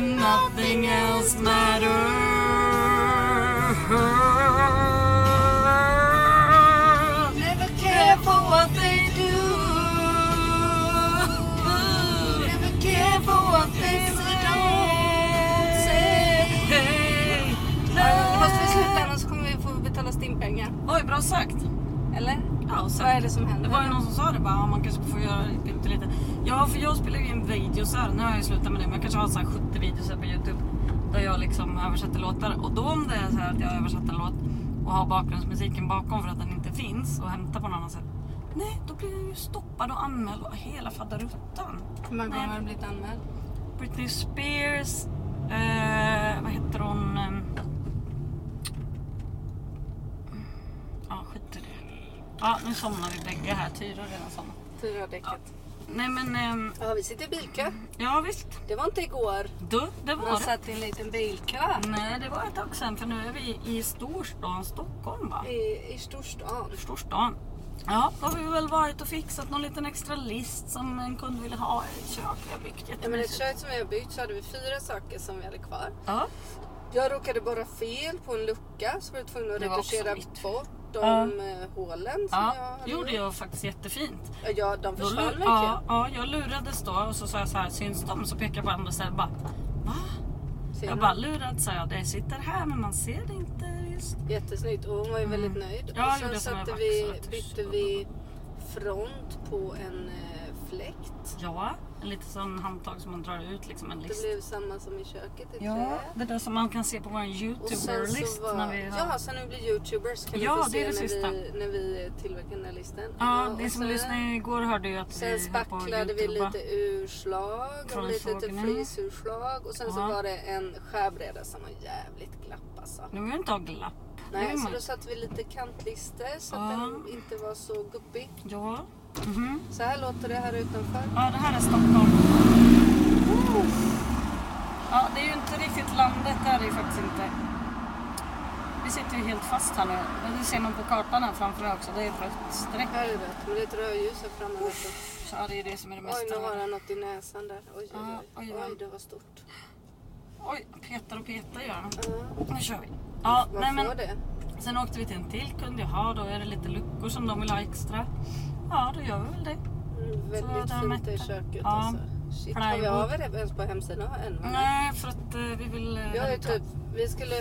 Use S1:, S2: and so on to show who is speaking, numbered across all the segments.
S1: nothing else matters. Never care for what they do. Never care for what they say.
S2: Nu måste vi sluta annars kommer vi få betala stimpengar.
S1: Oj, bra sagt.
S2: Eller?
S1: Ja, och sen,
S2: Vad är det som händer?
S1: Det var ju någon som sa det bara, ja, man kanske får göra lite, lite. Ja, för jag spelar ju in videosar. Nu har jag ju slutat med det, men jag kanske har så här 70 videosar på Youtube. Där jag liksom översätter låtar. Och då om det är så här att jag översätter en låt och har bakgrundsmusiken bakom för att den inte finns och hämtar på något annat sätt. Nej, då blir den ju stoppad och anmäld och hela faderuttan.
S2: Hur många gånger
S1: Nej.
S2: har du blivit anmäld?
S1: Britney Spears, eh, vad heter hon? Ehm, Ja, skit i det. Ja, nu somnar vi bägge här. Tyra har redan somnat.
S2: Fyra däcket.
S1: Nej men, ehm,
S2: Ja, vi sitter i bilkö.
S1: ja visst.
S2: Det var inte igår.
S1: Du, det var
S2: Man
S1: det.
S2: satt i en liten bilkö.
S1: Nej, det var ett tag sedan för nu är vi i storstan Stockholm va?
S2: I, i storstan.
S1: Storstan. Ja, då har vi väl varit och fixat någon liten extra list som en kund ville ha i ett kök vi har byggt.
S2: Ja, men ett
S1: Jättemysigt.
S2: kök som vi har byggt så hade vi fyra saker som vi hade kvar.
S1: Ja,
S2: Jag råkade borra fel på en lucka så var jag tvungen att
S1: Det var också
S2: retuschera
S1: mitt.
S2: bort de
S1: Ja.
S2: eh, hålen som jag
S1: ja.
S2: hade.
S1: gjorde jag faktiskt jättefint.
S2: Ja, Ja, de
S1: Då lu-
S2: försvann verkligen.
S1: ja, ja, jag lurades då och så sa jag så här, syns de? Så pekade jag på andra sidan bara, va?
S2: Ser
S1: Jag
S2: du?
S1: bara lurad sa jag, det sitter här men man ser det inte just.
S2: Jättesnyggt och hon var ju
S1: Mm.
S2: väldigt nöjd.
S1: Ja,
S2: och
S1: gjorde
S2: sen
S1: som jag
S2: satte
S1: vaxade
S2: vi,
S1: och
S2: bytte
S1: tusch.
S2: vi front på en eh, fläkt.
S1: Ja, en liten sån handtag som man drar ut liksom en
S2: Det
S1: list.
S2: blev samma som i köket, ett
S1: Ja,
S2: trä.
S1: det där som man kan se på vår
S2: Och sen
S1: youtuber-list.
S2: så var,
S1: när vi har...
S2: ja, sen när vi blir youtubers kan
S1: Ja,
S2: vi få
S1: det
S2: se
S1: är det sista.
S2: när, vi, när vi tillverkar den här listan.
S1: ja,
S2: och
S1: ni som
S2: sen-
S1: lyssnade igår hörde ju att
S2: Sen
S1: vi höll på att
S2: spacklade vi
S1: youtuba.
S2: lite urslag och
S1: Från
S2: lite till
S1: sågen.
S2: flisurslag och sen så
S1: Ja.
S2: var det en skärbräda som var jävligt glapp alltså.
S1: Nu vill jag inte ha glapp. Det
S2: Nej,
S1: vill
S2: så
S1: man-
S2: då satte vi lite kantlister så att
S1: Ja.
S2: den inte var så guppig.
S1: Ja. Mhm.
S2: Så här låter det här utanför.
S1: Ja, det här är Stockholm. Ja, det är ju inte riktigt landet, det är det ju faktiskt inte. Vi sitter ju helt fast här nu. Men Det ser man på kartan här framför mig också. Det är ett rött streck.
S2: Här är rött, men det är ett rödljus här framme. vet du.
S1: Så ja, det är det som är det
S2: Oj,
S1: mest.
S2: nu har
S1: allvarliga.
S2: han något i näsan där. Oj, oj,
S1: Ja,
S2: oj.
S1: oj, oj.
S2: Oj, det var stort.
S1: Oj, petar och petar gör han.
S2: Ja,
S1: Nu kör vi. Ja,
S2: man
S1: nej, men
S2: får det.
S1: Sen åkte vi till en till kund. Jaha, då är det lite luckor som de vill ha extra. Ja, då gör vi väl det.
S2: Mm, väldigt
S1: där
S2: fint i
S1: mätte.
S2: köket
S1: Ja.
S2: alltså. Shit, har vi
S1: Plywood.
S2: av det ens på hemsidan än? va?
S1: Nej, för att eh, vi vill... eh,
S2: Mm. Jag är
S1: vänta.
S2: typ, vi skulle,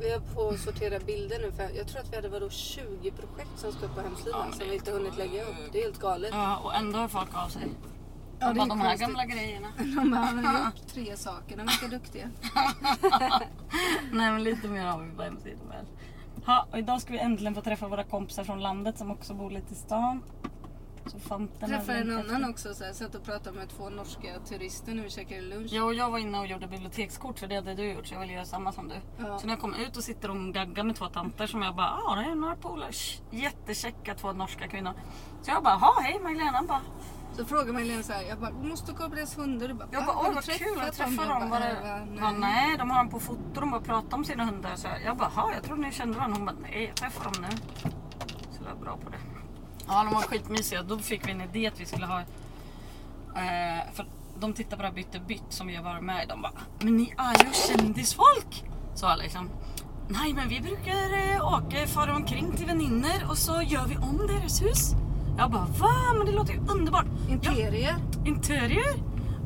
S2: vi är på att sortera bilder nu för jag tror att vi hade vadå 20 projekt som ska upp på hemsidan
S1: Ja, men
S2: som
S1: det
S2: vi inte hunnit lägga upp. Det är helt galet.
S1: Ja, och ändå har folk av sig.
S2: Ja,
S1: Ja,
S2: det
S1: bara
S2: är
S1: de här
S2: konstigt.
S1: gamla grejerna.
S2: De behöver upp tre saker, de verkar duktiga.
S1: Nej men lite mer har vi på hemsidan väl. Ha, och idag ska vi äntligen få träffa våra kompisar från landet som också bor lite i stan. Så Fanten
S2: Träffade
S1: har
S2: en
S1: längtat
S2: annan
S1: efter-
S2: också, så här, satt och pratade med två norska turister när vi käkade lunch.
S1: Ja, och jag var inne och gjorde bibliotekskort för det hade du gjort så jag ville göra samma som du.
S2: Ja.
S1: Så när jag kom ut och sitter och gaggar med två tanter som jag bara, ja ah, det är några polare, Sh, jättekäcka två norska kvinnor. Så jag bara, ha hej Magdalena. Bara,
S2: Så frågade Malin så här, jag bara, måste gå på deras hundar. Du bara,
S1: jag
S2: "Va,
S1: bara,
S2: har
S1: oj
S2: du
S1: vad kul
S2: träffat
S1: att träffa
S2: Jag
S1: dem. Bara,
S2: bara,
S1: nej.
S2: "Äh,
S1: Bara, nej, de har dem på foto, de bara pratar om sina hundar. Så jag, jag bara, ha jag trodde ni kände varandra. Hon bara, nej jag träffar dem nu. Så jag är bra på det. Ja, de var skitmysiga. Då fick vi en idé att vi skulle ha... Eh, för de tittar på det här Bytt och bytt som vi har varit med i. De bara, men ni är ju kändisfolk! Sa jag liksom. Nej, men vi brukar eh, åka, fara omkring till vänner och så gör vi om deras hus. Jag bara, va? Men det låter ju underbart. Ja,
S2: Interier.
S1: interier.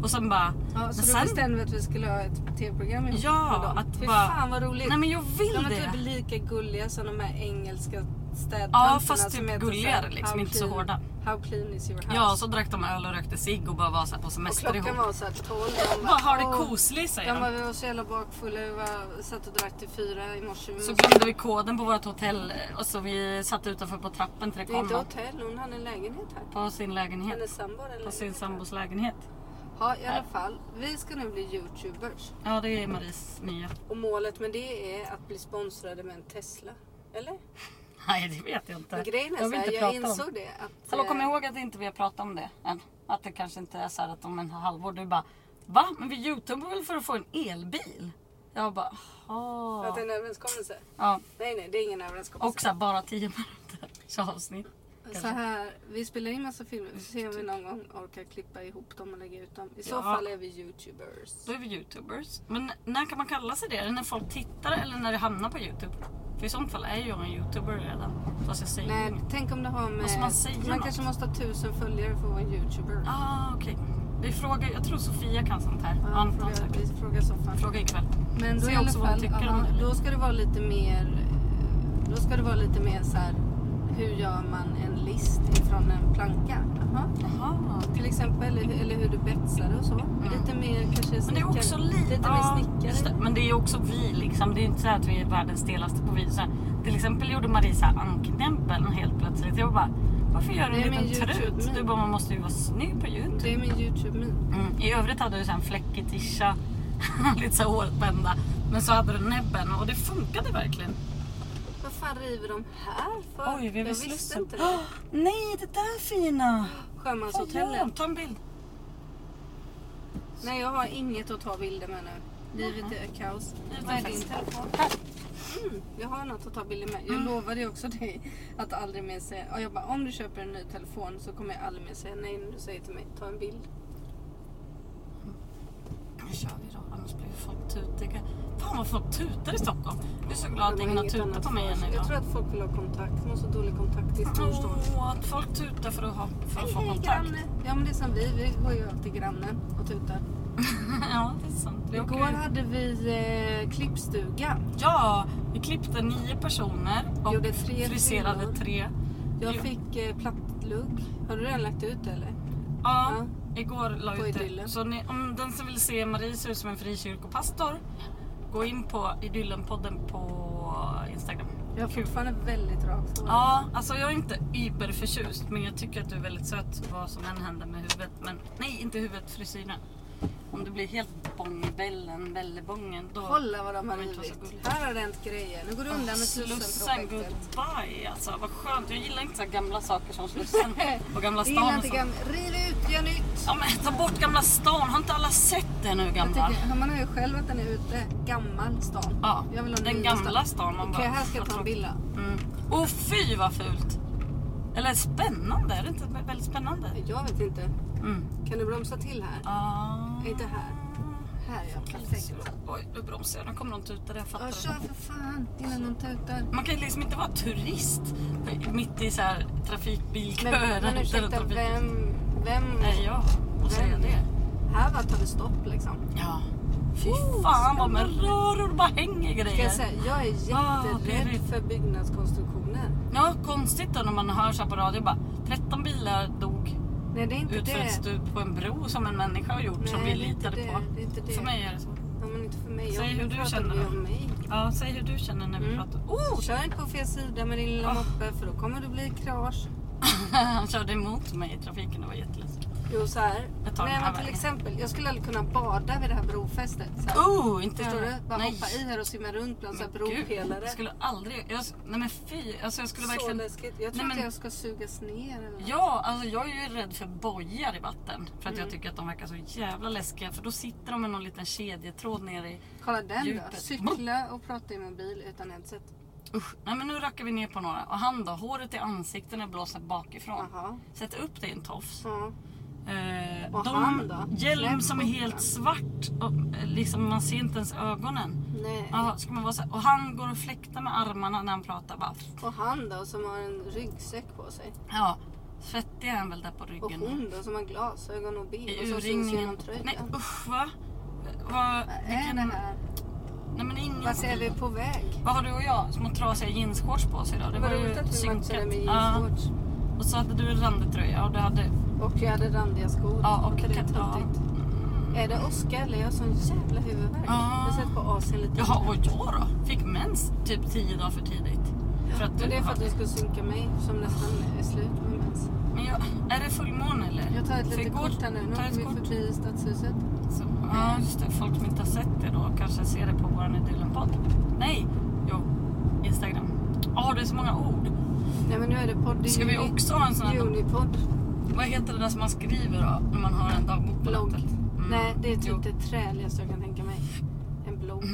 S1: Och sen bara,
S2: Ja,
S1: men
S2: så då bestämde vi att vi skulle ha ett tv-program ihop
S1: Ja,
S2: med dem.
S1: att
S2: Fy
S1: bara-
S2: fan vad roligt.
S1: Nej men jag vill
S2: de är
S1: det!
S2: typ lika gulliga som de här engelska städtanterna.
S1: Ja fast
S2: som heter
S1: typ
S2: så här,
S1: gulligare liksom,
S2: how
S1: inte så
S2: clean-
S1: hårda.
S2: How clean is your house?
S1: Ja, så drack de öl och rökte cigg och bara var så här på
S2: och
S1: semester
S2: klockan
S1: ihop.
S2: var såhär 12. De
S1: Vad har det
S2: "Åh."
S1: koselig säger
S2: De bara,
S1: de.
S2: vi var så jävla bakfulla. Vi var, satt och drack till fyra i morse. Vi
S1: Så
S2: måste-
S1: glömde vi koden på vårt hotell eh, och så vi satt utanför på trappen till det
S2: det är
S1: kom
S2: inte
S1: någon
S2: hotell, hon hade en lägenhet här.
S1: på sin lägenhet.
S2: Hennes sambo hade
S1: På
S2: en lägenhet.
S1: sin
S2: här.
S1: sambos lägenhet.
S2: Ja, i alla fall. Vi ska nu bli youtubers.
S1: Ja det är Maries nya.
S2: Och målet med det är att bli sponsrade med en Tesla. Eller?
S1: Nej det vet jag inte.
S2: Men grejen är
S1: jag
S2: så
S1: vill
S2: här,
S1: inte
S2: jag
S1: prata om.
S2: insåg det att...
S1: Hallå
S2: eh,
S1: kom ihåg att inte vi har pratat om det än. Att det kanske inte är så här att om en halvår du bara Va? Men vi youtubar väl för att få en elbil? Jag bara
S2: Att det
S1: jaha.
S2: är en överenskommelse?
S1: Ja.
S2: Nej, nej, det är ingen överenskommelse.
S1: Och så här, bara 10 minuter så avsnitt.
S2: Så
S1: Kanske.
S2: här, vi spelar in massa filmer. Vi får se om vi någon gång orkar klippa ihop dem och lägga ut dem. I så
S1: Ja.
S2: fall är vi youtubers.
S1: Då är vi youtubers. Men när kan man kalla sig det? Är det när folk tittar eller när det hamnar på youtube? För i sånt fall är jag en youtuber redan. Fast jag säger
S2: Nej,
S1: inget.
S2: tänk om det har med...
S1: Måste man säga något?
S2: kanske måste ha tusen följare för att vara en youtuber.
S1: Ah, okej. Vi frågar, jag tror Sofia kan sånt här.
S2: Ja,
S1: Anton
S2: fråga-
S1: säkert.
S2: vi frågar som fan.
S1: Fråga ikväll.
S2: Men då,
S1: Se
S2: i alla
S1: också vad hon
S2: fall,
S1: tycker om
S2: aha,
S1: det.
S2: då ska det vara lite mer... eh, Då ska det vara lite mer så här... Hur gör man en list ifrån en planka? Aha.
S1: Jaha.
S2: Till exempel, eller, eller hur du betsar och så. Lite mer kanske
S1: Mm. Men det är också
S2: snickare-
S1: lite...
S2: lite
S1: ja,
S2: mer
S1: just det.
S2: snickare.
S1: Men det är också vi liksom. Det är inte så att vi är världens stelaste på video. Så här, Till exempel gjorde Marie så här anknämpeln helt plötsligt. Jag bara, varför gör du en
S2: Nej, men
S1: liten
S2: YouTube-
S1: trut? Du bara, man måste ju vara snygg på YouTube.
S2: Det är min youtube-min.
S1: Mm. I övrigt hade du så här en fläckig tisha, lite så här hårspända. Men så hade du näbben och det funkade verkligen.
S2: Vad fan river de här för? jag visste inte det.
S1: Nej, det där fina!
S2: Sjömanshotellet.
S1: Ta en bild.
S2: Nej, jag har inget att ta bilder med nu. Livet är kaos.
S1: Livet
S2: Vad
S1: är
S2: är din
S1: fest.
S2: telefon? Mm, jag har något att ta bilder med.
S1: Mm.
S2: Jag lovade ju också dig att aldrig mer säga... Och jag bara, om du köper en ny telefon så kommer jag aldrig mer säga nej när du säger till mig, ta en bild.
S1: Nu kör vi då, annars blir folk tutiga. Fan vad folk tutar i Stockholm. Jag är så glad att
S2: De
S1: ingen har
S2: inget
S1: tutat
S2: annat
S1: på mig
S2: för sig.
S1: än
S2: Jag tror
S1: idag.
S2: att folk vill ha kontakt. De har så dålig kontakt i storstan.
S1: Åh, att folk tutar för att, ha, för att få
S2: Hej, hej
S1: kontakt.
S2: granne! Ja men det är som vi, vi går ju alltid grannen och tutar.
S1: ja, det är sant. Vi åker
S2: Igår
S1: ju-
S2: hade vi eh, klippstuga.
S1: Ja, vi klippte nio personer och
S2: Gjorde tre
S1: friserade
S2: kvinnor.
S1: tre.
S2: Jag
S1: Jo.
S2: fick eh, plattlugg. Har du redan lagt ut det eller?
S1: Ja, igår la
S2: På
S1: ut det.
S2: Idyllen.
S1: Så ni, om den som vill se Marie ser ut som en frikyrkopastor, gå in på Idyllenpodden på Instagram.
S2: Jag har
S1: Kul.
S2: fortfarande väldigt rakt hår.
S1: Ja, alltså jag är inte überförtjust men jag tycker att du är väldigt söt vad som än händer med huvudet. Men nej, inte huvudet, frisyren. Om du blir helt bångbällen, bällebången, då...
S2: Kolla vad de har
S1: Men inte så gulligt.
S2: rivit. Här har det hänt grejer. Nu går du undan med
S1: Slussen,
S2: Slussen-projektet.
S1: goodbye alltså. Vad skönt. Jag gillar inte så här gamla saker som Slussen och Gamla
S2: Det
S1: stan och
S2: gillar inte
S1: sånt.
S2: gamla. Riv ut, gör nytt.
S1: Ja men ta bort Gamla stan, har inte alla sett det nu
S2: Jag
S1: gamla?
S2: tycker, man hör ju själv att den är ute. Gammal stan.
S1: Ja,
S2: Jag vill ha
S1: den
S2: nya
S1: gamla
S2: stan.
S1: stan. Man
S2: Okej,
S1: bara,
S2: här ska jag
S1: vad
S2: ta en
S1: tråkigt.
S2: bild.
S1: Mm. Oh fy vad fult! Eller spännande, är det inte väldigt spännande?
S2: Jag vet inte.
S1: Mm.
S2: Kan du bromsa till här?
S1: Ah.
S2: Inte här. Här ja, perfekt.
S1: Oj, nu bromsar jag. Nu kommer de tuta det, jag fattar.
S2: Ja,
S1: det.
S2: kör för fan innan de tutar.
S1: Man kan ju liksom inte vara turist mitt i så här trafikbilköer.
S2: Men, men
S1: eller
S2: ursäkta,
S1: trafik-
S2: vem... vem
S1: Är jag och säga
S2: Vem?
S1: det?
S2: Här var tar det stopp liksom.
S1: Ja. Fy fan vad med
S2: Oh, spännande.
S1: rör och det bara hänger grejer.
S2: Ska jag, säga, jag är
S1: Ah,
S2: jätterädd
S1: pirrigt.
S2: för byggnadskonstruktioner.
S1: Ja, konstigt då när man hör så här på radio bara 13 bilar dog
S2: Nej det är inte
S1: ut för ett
S2: det.
S1: stup på en bro som en människa har gjort som
S2: Nej,
S1: vi
S2: det är inte
S1: litade
S2: det,
S1: på.
S2: det är inte det.
S1: För mig är det så.
S2: Ja, men inte för mig.
S1: Säg
S2: jag
S1: hur du
S2: pratar
S1: känner
S2: ju
S1: då.
S2: om mig.
S1: Ja, säg hur du känner när vi
S2: Mm.
S1: pratar. Oh!
S2: Kör inte på fel sida med din lilla
S1: Ah.
S2: moppe för då kommer du bli krasch.
S1: Han körde emot mig i trafiken, det var jätteläskigt.
S2: Jo så här.
S1: Jag tar den
S2: Nej
S1: här
S2: men till
S1: vägen.
S2: exempel, jag skulle aldrig kunna bada vid det här brofästet. Så här.
S1: Oh, inte
S2: Förstår
S1: jag.
S2: du? Bara
S1: Nej.
S2: hoppa i här och simma runt bland så här
S1: Men gud,
S2: bropelare.
S1: Jag skulle aldrig... Jag, nej men fy. Alltså jag skulle
S2: Så
S1: verkligen...
S2: läskigt. Jag tror
S1: Nej, men-
S2: att jag ska sugas ner eller något.
S1: Ja, alltså jag är ju rädd för bojar i vatten. För
S2: Mm.
S1: att jag tycker att de verkar så jävla läskiga. För då sitter de med någon liten kedjetråd nere i...
S2: Kolla den då.
S1: Djupet.
S2: Cykla och prata i mobil utan headset.
S1: Usch. Nej men nu rackar vi ner på några. Och han då? Håret i ansikten är blåsat bakifrån.
S2: Jaha.
S1: Sätt upp dig i en tofs.
S2: Ja.
S1: Eh,
S2: Och
S1: de,
S2: han då?
S1: Hjälm
S2: Släpp
S1: som är
S2: upp
S1: helt
S2: den.
S1: svart. Och, eh, liksom, man ser inte ens ögonen.
S2: Nej.
S1: Ja, ska man vara så här? Och han går och fläktar med armarna när han pratar. Bara,
S2: Och han då som har en ryggsäck på sig.
S1: ja, svettig är han väl där på ryggen.
S2: Och hon då som har glasögon och ben. Och
S1: I
S2: som syns
S1: urringningen.
S2: genom tröjan.
S1: Nej usch va? Vad,
S2: Vad
S1: det
S2: är
S1: kan,
S2: det här?
S1: nej men ingen
S2: Vad ser vi på väg?
S1: Vad har du och jag? Små trasiga jeansshorts på oss idag. Det
S2: Vad
S1: var
S2: roligt
S1: ju
S2: att vi matchade
S1: synkat.
S2: med
S1: Ja,
S2: jeansshorts.
S1: och så hade du en randig tröja och du hade...
S2: Och jag hade randiga skor.
S1: Ja, och
S2: Var inte det
S1: kat- ja.
S2: töntigt? Är det åska eller? Jag har sån jävla huvudvärk.
S1: Ja.
S2: Jag har sett på Asien lite.
S1: Jaha, och jag då? Fick mens typ tio dagar för tidigt. För att
S2: Men det är för att
S1: har-
S2: du ska synka mig som nästan är slut med mens.
S1: men jag, är det fullmåne eller?
S2: Jag tar ett
S1: För
S2: litet
S1: igår-
S2: kort här nu. Nu
S1: tar jag
S2: åker
S1: ett
S2: vi
S1: kort.
S2: förbi stadshuset.
S1: Så, ja, just det. Folk som inte har sett det då kanske ser det på vår Idyllen-podd. Nej, jo. Instagram. Ja, det är så många ord.
S2: Nej men nu är det podd.
S1: Ska vi också Mm. ha en sån här
S2: Unipod.
S1: Vad heter det där som man skriver då när man har en dagbok på
S2: Blogg.
S1: nätet? Mm.
S2: Nej, det är typ
S1: Jo.
S2: det träligaste jag kan tänka mig. En blogg.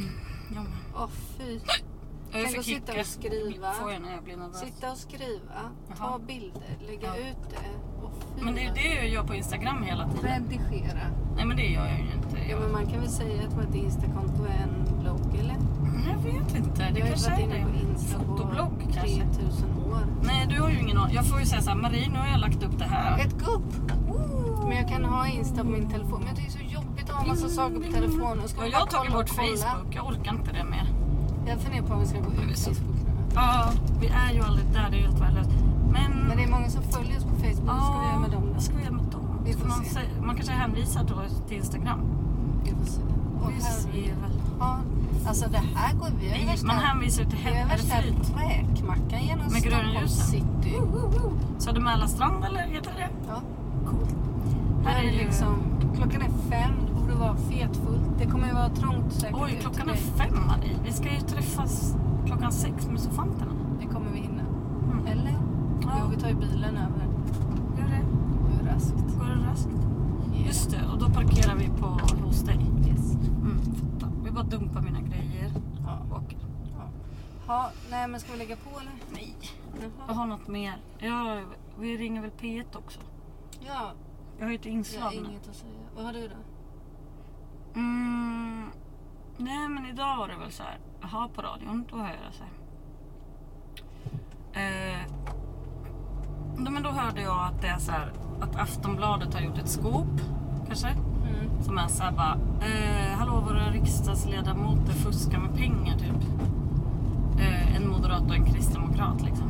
S1: Ja, men.
S2: Åh fy.
S1: Jag
S2: Tänk att sitta och skriva.
S1: Får jag när jag blir nervös.
S2: Sitta och skriva,
S1: Jaha.
S2: ta bilder, lägga
S1: Ja.
S2: ut det och fila.
S1: Men det är ju det jag gör på Instagram hela tiden.
S2: Redigera.
S1: Nej men det gör jag ju inte.
S2: Ja,
S1: Jag,
S2: men man kan väl säga att vårt instakonto är en blogg eller?
S1: jag vet inte. Det
S2: jag har ju
S1: kanske
S2: varit
S1: är
S2: inne på
S1: det.
S2: Insta
S1: Fotoblogg
S2: på
S1: kanske.
S2: 3000 år.
S1: Nej du har ju ingen aning. Jag får ju säga såhär, Marie nu har jag lagt upp det här.
S2: Ett gupp! Men jag kan ha Insta på min telefon. Men det är så jobbigt att ha massa saker på telefonen. Ska
S1: Mm. Ja,
S2: man
S1: jag har
S2: bara
S1: tagit
S2: kolla
S1: bort
S2: och kolla?
S1: Facebook, jag orkar inte det mer.
S2: Jag funderar på om vi ska gå ut Facebook nu.
S1: Ja, vi är ju aldrig där, det är helt värdelöst. Men...
S2: Men det är många som följer oss på Facebook. Vad ska vi göra med dem
S1: Ja,
S2: då?
S1: Vad ska vi göra med dem?
S2: Vi får
S1: Ska man,
S2: se.
S1: säga- man kanske hänvisar då till Instagram.
S2: Vi får se. Åh,
S1: Vi ser
S2: herregud.
S1: väl.
S2: Ja, alltså det här går vi
S1: Nej,
S2: över.
S1: man hänvisar ju till
S2: Vi är värsta
S1: Hellefrid.
S2: räkmackan genom
S1: Med gröna
S2: Stockholm
S1: ljusen. Mm.
S2: city.
S1: Södermälarstrand eller heter det
S2: Ja.
S1: Coolt.
S2: Här är det
S1: ju-
S2: liksom, klockan är fem, det borde vara fetfullt. Det kommer ju vara trångt säkert
S1: Oj,
S2: ute
S1: klockan
S2: nu.
S1: är fem Marie. Vi ska ju träffas klockan sex med sofanterna.
S2: Det kommer vi hinna.
S1: Mm.
S2: Eller?
S1: Ja.
S2: Jo, vi tar ju bilen över.
S1: Gör det.
S2: Hur raskt?
S1: Går det raskt? Just det, och då parkerar vi på hos dig.
S2: Yes.
S1: Mm, fattar. Vi bara dumpar mina grejer
S2: Ja.
S1: och åker.
S2: Ha, nej men ska vi lägga på eller?
S1: Nej, jag
S2: Jaha.
S1: har något mer. Jag, vi ringer väl P1 också.
S2: Ja,
S1: Jag har ju ett
S2: jag har
S1: inslag nu.
S2: inget att säga. Vad har du då?
S1: Mm, nej men idag var det väl så här. Jaha på radion, då hör jag det så här. Eh, då, men då hörde jag att det är så här att Aftonbladet har gjort ett scoop kanske.
S2: Mm.
S1: Som är så här bara. Eh, hallå våra riksdagsledamöter fuskar med pengar typ. Eh, en moderat och en kristdemokrat liksom.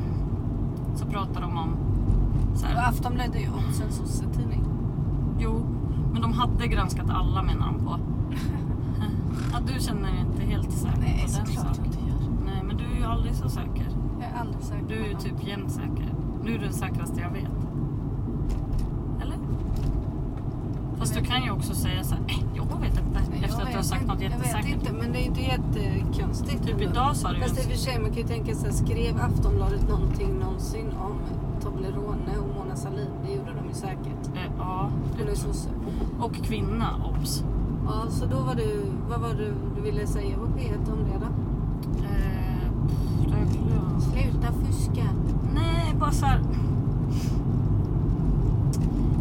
S1: Så pratar de om så här.
S2: Och Aftonbladet är ju också en sossetidning.
S1: Jo, men de hade granskat alla menar de på. ja, du känner dig inte helt säker
S2: Nej,
S1: på den
S2: såklart jag
S1: saken.
S2: inte Mm. gör.
S1: Nej, men du är ju aldrig så säker.
S2: Jag är aldrig säker
S1: Du är ju
S2: på något.
S1: typ jämt säker. Du är den säkraste jag vet. Eller? Fast du kan ju också säga så här, "Eh, jag vet inte.
S2: Nej, jag
S1: Efter att du har
S2: vet
S1: sagt
S2: inte.
S1: något
S2: Jag vet
S1: jättesäkert.
S2: inte, men det är inte jättekonstigt.
S1: Typ
S2: ändå.
S1: idag sa du ju
S2: Fast i och för
S1: en-
S2: sig, man kan ju tänka sig, skrev Aftonbladet någonting någonsin om Toblerone och Mona Sahlin? Det gjorde de ju säkert.
S1: eh, Ja.
S2: Hon är sosse.
S1: Och kvinna, obs.
S2: Ja, så då var du, vad var du, du ville säga på P1 om det då?
S1: Eh, pff, det har jag glömt.
S2: Sluta fuska.
S1: Nej, bara så här.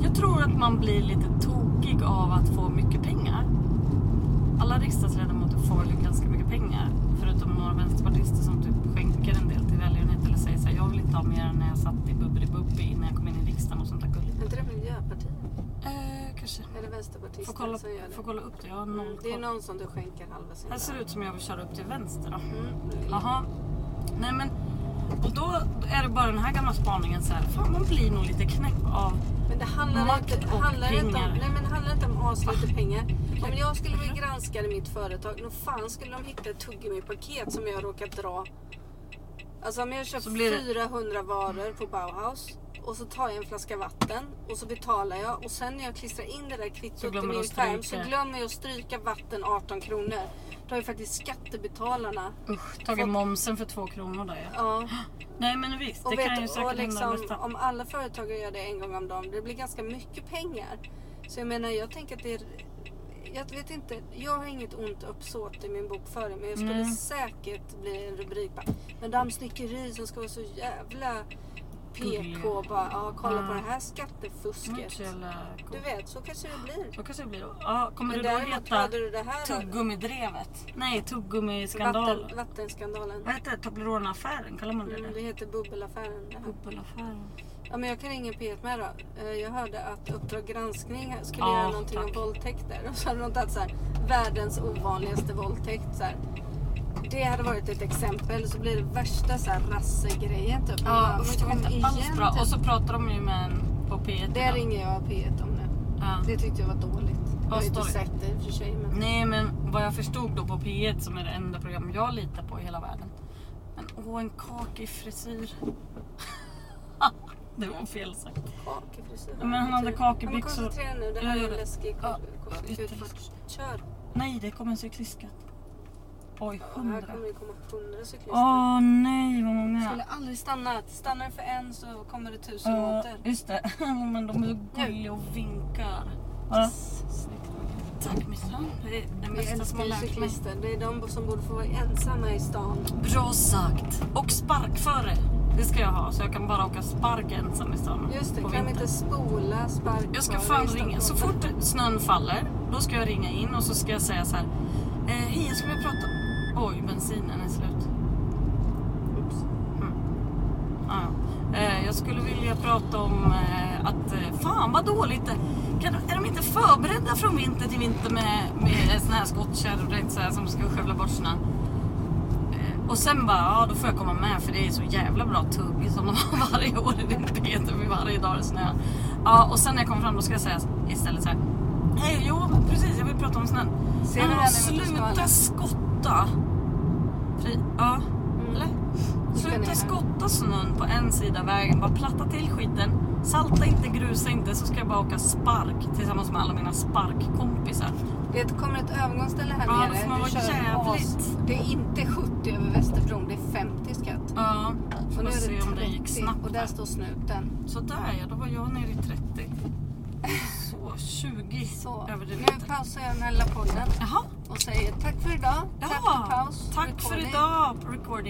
S1: Jag tror att man blir lite tokig av att få mycket pengar. Alla riksdagsledamöter får ju ganska mycket pengar. Förutom några vänsterpartister som typ skänker en del till välgörenhet eller säger så här, jag vill inte ha mer än när jag satt i Bubbeli-Bubbi innan jag kom in i riksdagen och sånt där gulligt.
S2: Är inte det Miljöpartiet?
S1: Eh, kanske.
S2: Eller
S1: Får
S2: Vänsterpartiet
S1: kolla,
S2: som gör det? Mm,
S1: får kolla upp det, jag har noll
S2: det är
S1: koll.
S2: någon som du skänker halva sin
S1: Här ser det ut som jag vill köra upp till vänster då.
S2: Mm, det är-
S1: Jaha. Nej men, och då är det bara den här gamla spaningen så här, fan man blir nog lite knäpp av
S2: Men det handlar,
S1: Makt
S2: inte,
S1: och
S2: handlar inte om,
S1: pengar. Ah. Mm.
S2: nej, men det handlar inte om aslite pengar. Om jag skulle bli granskad i mitt företag, nog fan skulle de hitta ett tuggummi-paket som jag råkat dra. Alltså om jag
S1: Så
S2: köper
S1: blir det-
S2: 400 varor på Bauhaus och så tar jag en flaska vatten och så betalar jag och sen när jag klistrar in det där kvittot i
S1: glömmer du
S2: min
S1: att
S2: skärm så
S1: stryka.
S2: glömmer jag att stryka vatten 18 kronor. Då har ju faktiskt skattebetalarna
S1: Usch, tagit momsen för två kronor där ja.
S2: ja,
S1: Nej men visst,
S2: och
S1: det kan ju
S2: vet, och
S1: säkert hända
S2: liksom,
S1: bästa.
S2: om alla företagare gör det en gång om dagen, det blir ganska mycket pengar. Så jag menar, jag tänker att det är... Jag vet inte, jag har inget ont uppsåt i min bokföring men jag skulle
S1: Nej.
S2: säkert bli en rubrik bara, men dammsnickeri som ska vara så jävla PK
S1: Gulliga.
S2: bara, ja kolla på
S1: Ja.
S2: det här
S1: Det var inte så
S2: skattefusket.
S1: jävla
S2: Du
S1: coolt.
S2: vet, så kanske det blir.
S1: Så kanske det blir eh, då. Ja, kommer
S2: Men
S1: det då
S2: däremot
S1: heta
S2: hade du det här då.
S1: Tuggummidrevet? Nej,
S2: Vatten,
S1: Tuggummiskandalen.
S2: vattenskandalen.
S1: Vad heter det? Toblerone-affären, kallar man det
S2: Mm, det
S1: det?
S2: heter bubbelaffären. Det här.
S1: Bubbelaffären.
S2: Ja, men jag kan ringa P1 med då. Eh, Jag hörde att Uppdrag granskning skulle
S1: Ja,
S2: göra någonting om
S1: tack.
S2: våldtäkter. Och så hade de tagit så här, världens ovanligaste våldtäkt. Så här. Det hade varit ett exempel. Så blir det värsta så här, rassegrejen typ. Man bara,
S1: Ja, usch, det var
S2: "Men kom
S1: inte alls
S2: igen,
S1: bra.
S2: typ."
S1: Och så pratar de ju med en på P1
S2: Det
S1: idag.
S2: ringer jag P1 om nu.
S1: Ja.
S2: Det tyckte jag var dåligt. Jag har ju inte
S1: story.
S2: sett det i och för sig. Men...
S1: Nej men vad jag förstod då på P1 som är det enda program jag litar på i hela världen. Men åh, en kakig frisyr. det var fel sagt.
S2: Kakefrisyr.
S1: Men han hade kakebyxor.
S2: Ja, men koncentrera nu. Det här
S1: Jag
S2: är
S1: gör
S2: en
S1: det.
S2: läskig
S1: Ja,
S2: kort-
S1: jätteläskigt.
S2: utfart. Kör.
S1: Nej, det kom en cyklistskatt. Oj,
S2: Ja, Här
S1: hundra.
S2: kommer det komma hundra cyklister.
S1: Åh nej, vad
S2: Skulle
S1: många.
S2: aldrig stanna. Stannar du för en så kommer det tusen
S1: Uh,
S2: åter.
S1: just det, men de är så gulliga och vinkar. Ja.
S2: Yes. Snyggt. Maja.
S1: Tack Missan. Det är det
S2: Vi
S1: bästa som
S2: älskar
S1: har
S2: ju
S1: lärt mig.
S2: cyklister. Det är de som borde få vara ensamma i stan.
S1: Bra sagt. Och sparkföre. Det ska jag ha så jag kan bara åka spark ensam i stan
S2: Just det,
S1: på
S2: kan vi
S1: vintern.
S2: inte spola sparkföre
S1: Jag ska
S2: i
S1: fan
S2: Stockholm?
S1: ringa. Så fort snön faller, då ska jag ringa in och så ska jag säga så här. Eh, Hej, jag skulle vilja prata... Oj, bensinen är slut. Mm.
S2: Oops.
S1: Ja. Eh, Jag skulle vilja prata om eh, att eh, fan vad dåligt det kan, Är de inte förberedda från vinter till vinter med, med såna här skottkärror det är så här, som ska skövla bort snön? Eh, Och sen bara, ja då får jag komma med för det är så jävla bra tugg som de har varje år i din Peter för varje dag det snöar. Ja, och sen när jag kommer fram då ska jag säga istället så här. Hej, jo precis jag vill prata om snön.
S2: Ser du
S1: Ja,
S2: den i
S1: sluta
S2: motorskalan?
S1: skotta. Fri, ja,
S2: Mm.
S1: eller?
S2: Ska ni
S1: Sluta
S2: här?
S1: skotta snön på en sida av vägen. Bara platta till skiten. Salta inte, grusa inte så ska jag bara åka spark tillsammans med alla mina sparkkompisar.
S2: Det kommer ett övergångsställe här
S1: Ja,
S2: nere.
S1: då får man
S2: Du
S1: vara
S2: kör
S1: jävligt.
S2: as- Det är inte 70 över Västerbron, det är 50 skatt.
S1: Ja, får
S2: nu
S1: vi se om det gick
S2: 30,
S1: snabbt.
S2: och där står snuten.
S1: Så där ja, då var jag nere i 30. Så, 20
S2: Så,
S1: över det
S2: nu
S1: lite.
S2: pausar jag den här lilla podden
S1: Jaha,
S2: och säger tack för idag.
S1: ja.
S2: Tack för paus.
S1: Tack för
S2: Recording.
S1: idag, recording.